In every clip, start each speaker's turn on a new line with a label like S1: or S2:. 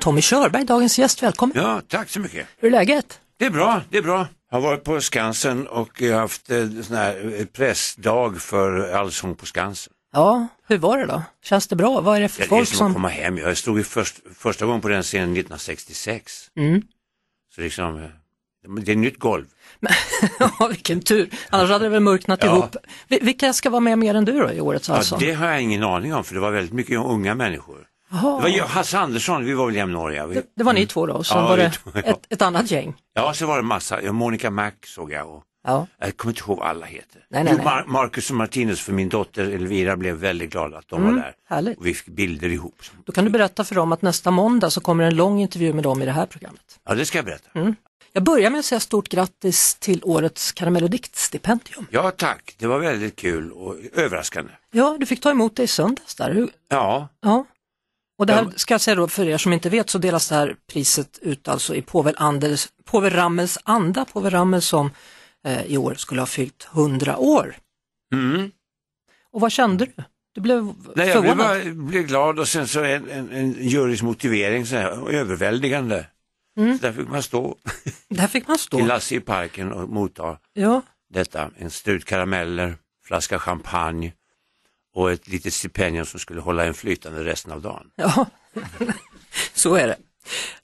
S1: Tommy Körberg, dagens gäst, välkommen.
S2: Ja, tack så mycket.
S1: Hur är läget?
S2: Det är bra, det är bra. Jag har varit på Skansen och jag har haft eh, sån här eh, pressdag för Allsång på Skansen.
S1: Ja, hur var det då? Känns det bra? Vad är det för
S2: Ja, det är
S1: folk
S2: som att
S1: som...
S2: komma hem. Jag stod ju först, första gången på den scenen 1966.
S1: Mm.
S2: Så liksom, eh, det är nytt golv.
S1: ja, vilken tur, annars hade det väl mörknat
S2: Ja.
S1: ihop. Vi- vilka ska vara med mer än du då i årets
S2: Ja,
S1: alltså?
S2: det har jag ingen aning om för det var väldigt mycket unga människor.
S1: Jaha.
S2: Det var jag, Hasse Andersson, vi var väl jämnåriga. Vi-
S1: Ah. det var ni två då, och sen
S2: Ja,
S1: var
S2: vi
S1: det
S2: två, ja.
S1: ett, ett annat gäng.
S2: Ja, så var det massa. Ja, Monica Mac såg jag och
S1: Ja.
S2: jag kommer inte ihåg vad alla heter.
S1: Nej, nej,
S2: jo,
S1: nej.
S2: Mar- Marcus och Martinus för min dotter Elvira blev väldigt glada att de var där.
S1: Mm, härligt.
S2: Och vi fick bilder ihop.
S1: Då kan du berätta för dem att nästa måndag så kommer en lång intervju med dem i det här programmet.
S2: Ja, det ska jag berätta.
S1: Mm. Jag börjar med att säga stort grattis till årets Karamell och diktstipendium.
S2: Ja, tack. Det var väldigt kul och överraskande.
S1: Ja, du fick ta emot det i söndags där. Hur-
S2: Ja,
S1: Ja. Och det här
S2: Ja.
S1: ska jag säga då för er som inte vet så delas det här priset ut alltså i påvel, Anders, påvel Rammels anda, påvel Rammel som eh, i år skulle ha fyllt 100 år.
S2: mm.
S1: Och vad kände du? Du blev
S2: Nej, jag blev,
S1: förvånad?
S2: bara, blev glad och sen så en, en, en jurys motivering så här, överväldigande.
S1: Mm.
S2: Så där fick man stå
S1: Där fick man
S2: till
S1: stå.
S2: Lasse i parken och motta
S1: Ja.
S2: detta. En strut karameller, flaska champagne och ett litet stipendium som skulle hålla en flytande resten av dagen.
S1: Ja, så är det.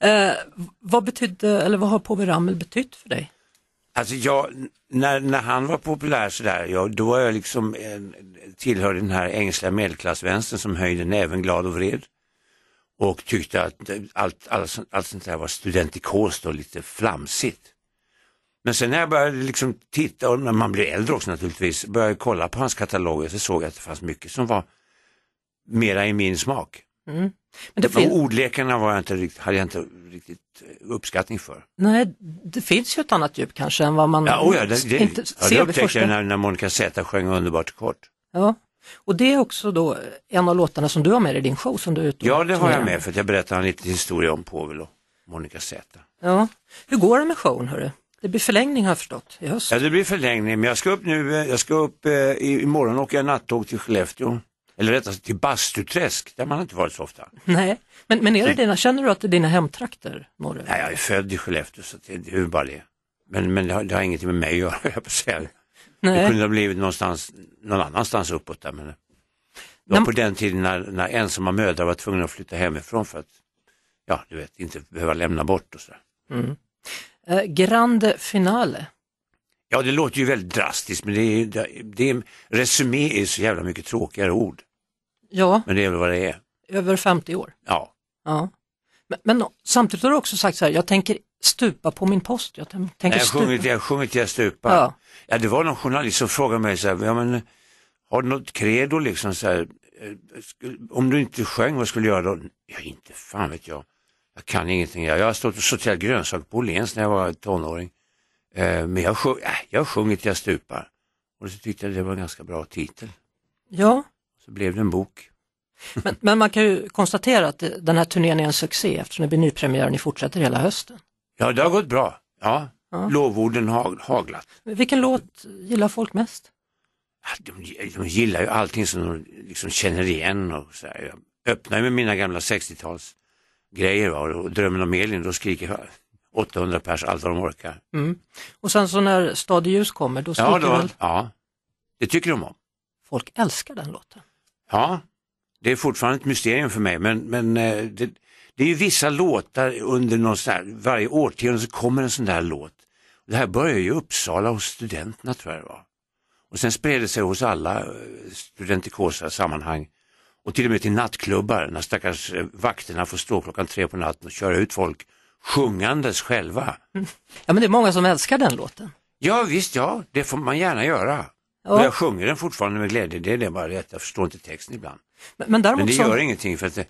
S1: Eh, vad betydde, eller vad har Povel Ramel betytt för dig?
S2: Alltså jag, när, när han var populär sådär, jag, då var jag liksom en, tillhörde den här ängsliga medelklassvänstern som höjde näven glad och vred. Och tyckte att eh, allt, allt, sånt- allt sånt där var studentikost och lite flamsigt. Men sen när jag började liksom titta, och när man blir äldre också naturligtvis, började jag kolla på hans kataloger så såg jag att det fanns mycket som var mera i min smak.
S1: Men det,
S2: Men
S1: fin-
S2: ordlekarna var jag inte, rikt- hade jag inte riktigt eh, uppskattning för.
S1: nej, det finns ju ett annat djup kanske än vad man
S2: Ja, oh ja, det, det,
S1: inte
S2: ja,
S1: ser
S2: det
S1: vid
S2: upptäckte
S1: första.
S2: jag när, när Monica Zeta sjöng Underbart kort.
S1: Ja. Och det är också då en av låtarna som du har med dig i din show som du är ute och
S2: Ja, det har jag
S1: turnerar
S2: med för att jag berättar en liten historia om Povel och Monica Zeta.
S1: Ja. Hur går det med showen hörru? Det blir förlängning har jag förstått i höst.
S2: Ja, det blir förlängning, men jag ska upp nu, eh, jag ska upp, eh, i- imorgon åker jag nattåg till Skellefteå. Eller rättare sagt till Bastuträsk, där man inte varit så ofta.
S1: Nej, men, men är det dina, känner du att det är dina hemtrakter Norre?
S2: Nej, jag är född i Skellefteå så det, det är ju bara det. Men, men det, har, det har ingenting med mig att göra, höll jag på att säga. Det kunde ha blivit någonstans, någon annanstans uppåt där. Men det var
S1: Nej,
S2: på den tiden när, när ensamma mödrar var tvungna att flytta hemifrån för att, ja du vet, inte behöva lämna bort och sådär.
S1: Eh, grande finale.
S2: Ja, det låter ju väldigt drastiskt, men det är, det, det är, resumé är ju så jävla mycket tråkigare ord.
S1: Ja,
S2: Men det är väl vad det är.
S1: över 50 år.
S2: Ja,
S1: Ja. Men, men samtidigt har du också sagt så här, jag tänker stupa på min post. Jag tänk- tänker
S2: jag har sjungit,
S1: stupa.
S2: jag har sjungit jag stupar.
S1: Ja.
S2: Ja. det var någon journalist som frågade mig så här, ja men har du något credo liksom så här, eh, skulle- om du inte sjöng, vad skulle du göra då? Ja, inte fan vet jag. Jag kan ingenting. Jag jag har stått och sorterat grönsaker på Åhléns när jag var tonåring. Eh, Men jag har sjung- äh, jag har sjungit jag stupar. Och så tyckte jag det var en ganska bra titel.
S1: ja.
S2: Så blev det en bok.
S1: Men, men man kan ju konstatera att det- den här turnén är en succé eftersom det blir nypremiär och ni fortsätter hela hösten.
S2: Ja, det har gått bra. Ja,
S1: Ja.
S2: lovorden har haglat.
S1: Vilken låt gillar folk mest?
S2: Ja, Ah, De, de gillar ju allting som de liksom känner igen och så här. Jag öppnar ju med mina gamla 60-tals grejer va? och Drömmen om Elin, då skriker 800 pers allt vad de orkar.
S1: Och sen så när Stad i ljus kommer, då
S2: Ja,
S1: skriker
S2: då,
S1: väl
S2: ja, det tycker de om.
S1: folk älskar den låten.
S2: Ja, det är fortfarande ett mysterium för mig men, men eh, det, det är ju vissa låtar under någon sån här, varje årtionde så kommer en sån där låt. Det här började ju i Uppsala hos studenterna tror jag det var. Och sen spred det sig hos alla eh, studentikosa sammanhang och till och med till nattklubbar när stackars eh, vakterna får stå klockan tre på natten och köra ut folk sjungandes själva.
S1: Ja, men det är många som älskar den låten.
S2: Ja visst, ja, det får man gärna göra.
S1: Ja.
S2: Och jag sjunger den fortfarande med glädje, det är det bara det att jag förstår inte texten ibland.
S1: Men, men däremot
S2: Men det
S1: så,
S2: gör ingenting för att det,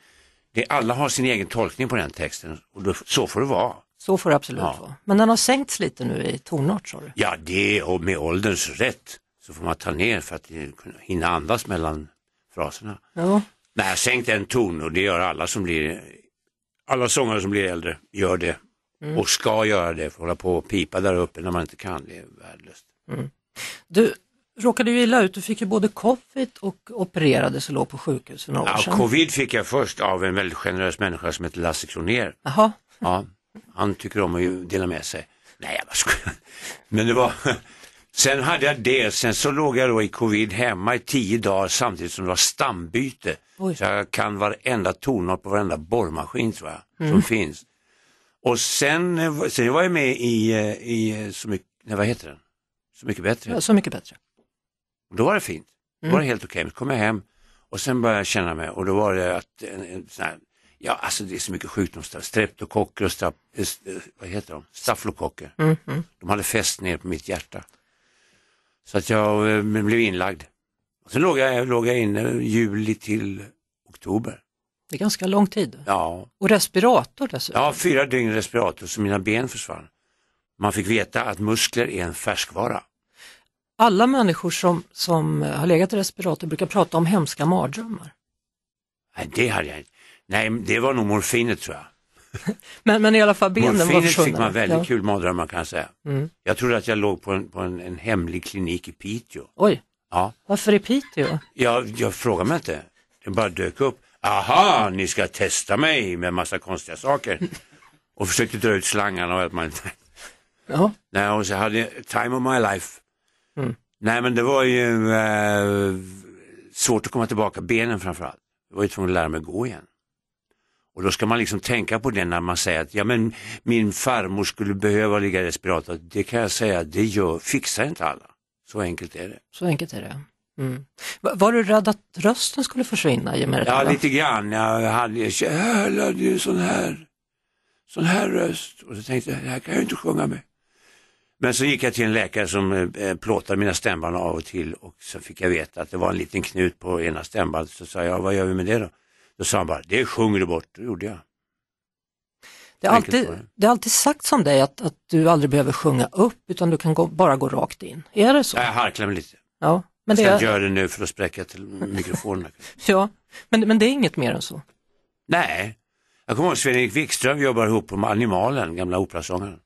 S2: det, alla har sin egen tolkning på den texten och då, så får det vara.
S1: Så får det absolut
S2: Ja.
S1: vara. Men den har sänkts lite nu i tonart sa du.
S2: Ja, det och med ålderns rätt så får man ta ner för att eh, kunna hinna andas mellan fraserna.
S1: Ja.
S2: Nej, sänkt en ton och det gör alla som blir, alla sångare som blir äldre gör det och ska göra det, för att hålla på och pipa där uppe när man inte kan, det är värdelöst.
S1: Du råkade ju illa ut, du fick ju både covid och opererades och låg på sjukhus för några år
S2: Ja,
S1: sedan.
S2: covid fick jag först av en väldigt generös människa som heter Lasse Kronér.
S1: Jaha,
S2: Ja, han tycker om att ju dela med sig. Nej, jag bara skojar. Men det var... Sen hade jag det, sen så låg jag då i covid hemma i tio dagar samtidigt som det var stambyte.
S1: Oj.
S2: Så jag kan varenda tonart på varenda borrmaskin tror jag, som finns. Och sen, eh, var- sen var jag med i, eh, i eh, Så mycket, nej vad heter den? Så mycket bättre.
S1: ja, så mycket bättre.
S2: Och då var det fint. Då var det helt okej. Men så kom jag hem och sen började jag känna mig och då var det att eh, en, en sån här, ja alltså det är så mycket sjukdomar, streptokocker och strap, eh, st- eh, vad heter de? staflokocker. De hade fäst ner på mitt hjärta. Så att jag eh, blev inlagd. Och sen låg jag, låg jag inne juli till oktober.
S1: Det är ganska lång tid.
S2: Ja,
S1: Och respirator dessutom.
S2: ja fyra dygn respirator så mina ben försvann. Man fick veta att muskler är en färskvara.
S1: Alla människor som, som eh, har legat i respirator brukar prata om hemska mardrömmar.
S2: Nej, det hade jag inte. Nej, det var nog morfinet tror jag.
S1: Men, men i alla fall benen var
S2: Morfinet
S1: försvunna.
S2: fick man väldigt
S1: ja. Mm.
S2: kul mardrömmar kan jag säga. Jag trodde att jag låg på, en, på en, en hemlig klinik i Piteå.
S1: Oj,
S2: Ja,
S1: varför i Piteå?
S2: jag, jag frågade mig inte. Det bara dök upp. Aha, ni ska testa mig med massa konstiga saker. Och försökte dra ut slangarna och allt man
S1: Ja,
S2: Nej, och så hade jag Time of My Life. Nej, men det var ju eh, svårt att komma tillbaka, benen framförallt. Jag var ju tvungen att lära mig gå igen. Och då ska man liksom tänka på det när man säger att ja, men min farmor skulle behöva ligga i respirator. Det kan jag säga, det gör, fixar inte alla. Så enkelt är det.
S1: så enkelt är det. Mm. Va- Var du rädd att rösten skulle försvinna i och med det
S2: Ja,
S1: där, va?
S2: lite grann. Jag hade, jag hörde ju sån här, sån här röst och så tänkte jag, det här kan jag ju inte sjunga med. Men så gick jag till en läkare som eh, plåtade mina stämband av och till och så fick jag veta att det var en liten knut på ena stämbandet. Så sa jag, vad gör vi med det då? Då sa han bara, det sjunger du bort. Det gjorde jag.
S1: Det är,
S2: Enkelt
S1: alltid,
S2: var det.
S1: det är alltid sagt som dig att, att du aldrig behöver sjunga upp utan du kan gå, bara gå rakt in. Är det så?
S2: Jag harklade mig lite.
S1: Ja, men
S2: Jag
S1: det
S2: ska inte
S1: är,
S2: göra det nu för att spräcka till mikrofonen.
S1: ja, men, men det är inget mer än så.
S2: Nej, jag kommer ihåg Sven-Erik Wikström, vi jobbade ihop på Animalen, gamla operasångaren.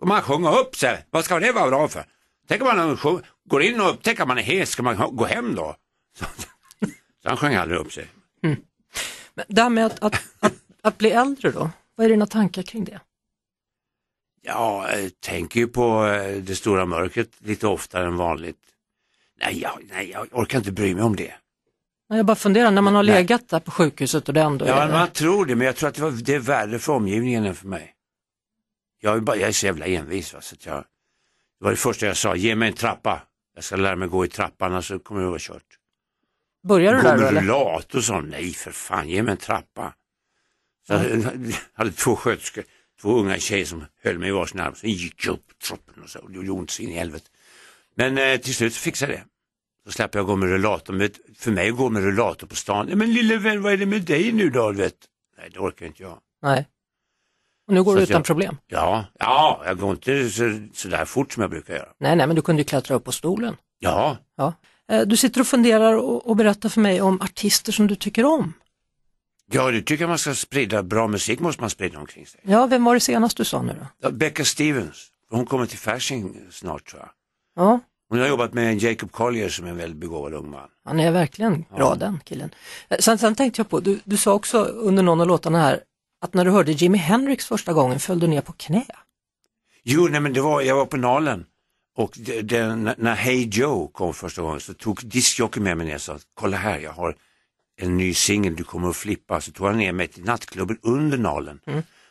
S2: Och man sjunger upp sig, vad ska det vara bra för? Tänk om man sjung, går in och upptäcker att man är hes, ska man ha- gå hem då? Så, så han sjöng aldrig upp sig.
S1: Men det här med att, att, att, att bli äldre då, vad är dina tankar kring det?
S2: Ja, eh, tänker ju på eh, det stora mörkret lite oftare än vanligt. Nej jag, nej, jag orkar inte bry mig om det.
S1: Nej, Jag bara funderar, när man har
S2: Nej.
S1: legat där på sjukhuset och det ändå
S2: Ja,
S1: är...
S2: man tror det, men jag tror att det, var, det är värre för omgivningen än för mig. Jag är, bara, jag är så jävla envis. Va? Så att jag, det var det första jag sa, ge mig en trappa. Jag ska lära mig gå i trappan, annars så kommer det vara kört.
S1: Börjar du
S2: Gå
S1: där då
S2: med
S1: eller?
S2: rullator, sa de. Nej, för fan, ge mig en trappa. Så jag hade två sköterskor, två unga tjejer som höll mig i varsin arm. Så gick jag upp trappen och så, och det gjorde ont så in i helvete. Men eh, till slut så fixade jag det. Så slapp jag gå med rullator. Men för mig att gå med rullator på stan, "Nej, men lille vän, vad är det med dig nu då? Du vet? Nej, det orkar inte jag.
S1: Nej. Och nu går
S2: Så
S1: du
S2: att
S1: utan
S2: jag-
S1: problem?
S2: Ja, ja, jag går inte så, så där fort som jag brukar göra.
S1: Nej, nej, men du kunde ju klättra upp på stolen.
S2: Ja,
S1: Ja. Eh, Du sitter och funderar och, och berättar för mig om artister som du tycker om.
S2: ja, det tycker jag man ska sprida. Bra musik måste man sprida omkring sig.
S1: Ja, vem var det senast du sa nu då?
S2: Ja, Becca Stevens, hon kommer till Fasching snart tror jag.
S1: Ja,
S2: Hon har jobbat med Jacob Collier som är en väldigt begåvad ung man.
S1: han är verkligen bra den killen. Eh, Sen, sen tänkte jag på, du, du sa också under någon av låtarna här att när du hörde Jimi Hendrix första gången föll du ner på knä.
S2: Jo, nej men det var, jag var på Nalen och det, det, när- när Hey Joe kom första gången så tog diskjockeyn med mig ner och sa, kolla här, jag har en ny singel, du kommer att flippa. Så tog han ner mig till nattklubben under Nalen.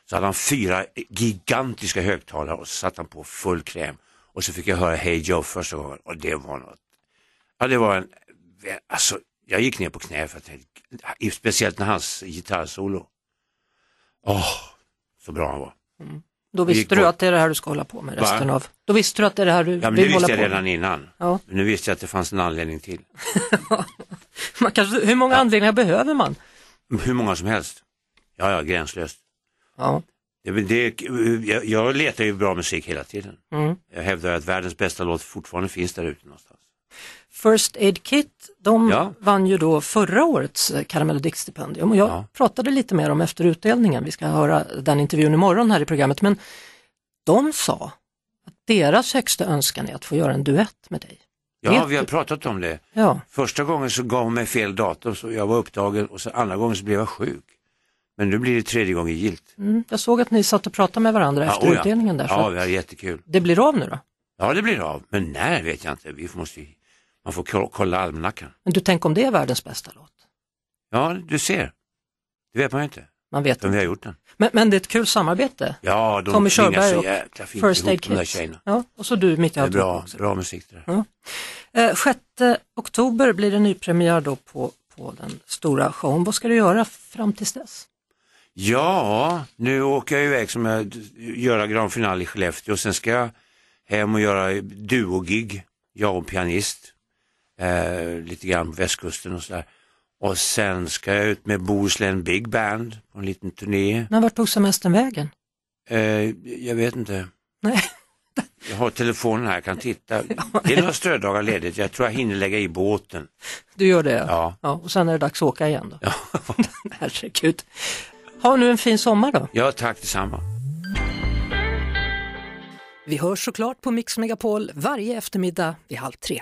S2: Så hade han fyra gigantiska högtalare och så satte han på full kräm. Och så fick jag höra Hey Joe första gången och det var något. Ja, det var en, alltså jag gick ner på knä för att jag- speciellt när hans gitarrsolo. Åh, så bra han var.
S1: Då
S2: gick
S1: visste du
S2: bort.
S1: att det är det här du ska hålla på med
S2: Va?
S1: resten av... Då visste du att det är det här du
S2: Ja, men det
S1: vill hålla
S2: visste
S1: på
S2: jag redan
S1: med.
S2: innan.
S1: Ja.
S2: Men nu visste jag att det fanns en anledning till.
S1: Man kanske, hur många anledningar behöver man?
S2: Hur många som helst. Ja, ja, gränslöst.
S1: Ja.
S2: Det, är väl det, jag, jag letar ju bra musik hela tiden.
S1: Mm.
S2: Jag hävdar att världens bästa låt fortfarande finns där ute någonstans.
S1: First Aid Kit, de
S2: Ja.
S1: vann ju då förra årets eh, Karamell och Dick-stipendium och jag
S2: Ja.
S1: pratade lite med dem efter utdelningen. Vi ska höra den intervjun imorgon här i programmet, men de sa att deras högsta önskan är att få göra en duett med dig.
S2: Ja,
S1: Vet
S2: vi har
S1: du-
S2: pratat om det.
S1: Ja,
S2: Första gången så gav hon mig fel datum så jag var upptagen och så andra gången så blev jag sjuk. Men nu blir det tredje gången gilt.
S1: mm. jag såg att ni satt och pratade med varandra efter
S2: oja.
S1: utdelningen där, så
S2: Ja,
S1: att
S2: det är jättekul.
S1: det blir av nu då.
S2: Ja, det blir av. Men när vet jag inte. Vi måste ju, man får ko- kolla almanackan.
S1: Men du, tänk om det är världens bästa låt?
S2: Ja, du ser. Det vet man ju inte.
S1: Man vet
S2: Men vi
S1: inte.
S2: har gjort den.
S1: Men, men det är ett kul samarbete,
S2: Ja, de
S1: Tommy
S2: klingar
S1: Körberg
S2: så
S1: och
S2: jäkla fint
S1: First
S2: ihop
S1: Aid
S2: de där
S1: Kit.
S2: tjejerna.
S1: Ja, och så du mitt i
S2: Det är
S1: allt
S2: bra,
S1: också.
S2: bra musik det där.
S1: Eh, 6 oktober blir det nypremiär då på, på den stora showen. Vad ska du göra fram tills dess?
S2: Ja, nu åker jag iväg som jag göra grandfinal i Skellefteå och sen ska jag hem och göra duogig, jag och pianist, eh, lite grann på västkusten och sådär. Och sen ska jag ut med Bohuslän Big Band på en liten turné.
S1: Men vart tog semestern vägen?
S2: Eh, jag vet inte.
S1: Nej.
S2: Jag har telefonen här, jag kan titta. Det är några strödagar ledigt, jag tror jag hinner lägga i båten.
S1: Du gör det?
S2: Ja.
S1: ja och sen är det dags att åka igen då? Ja. Herregud. Ha nu en fin sommar då.
S2: Ja, tack detsamma.
S1: Vi hörs såklart på Mix Megapol varje eftermiddag vid halv tre.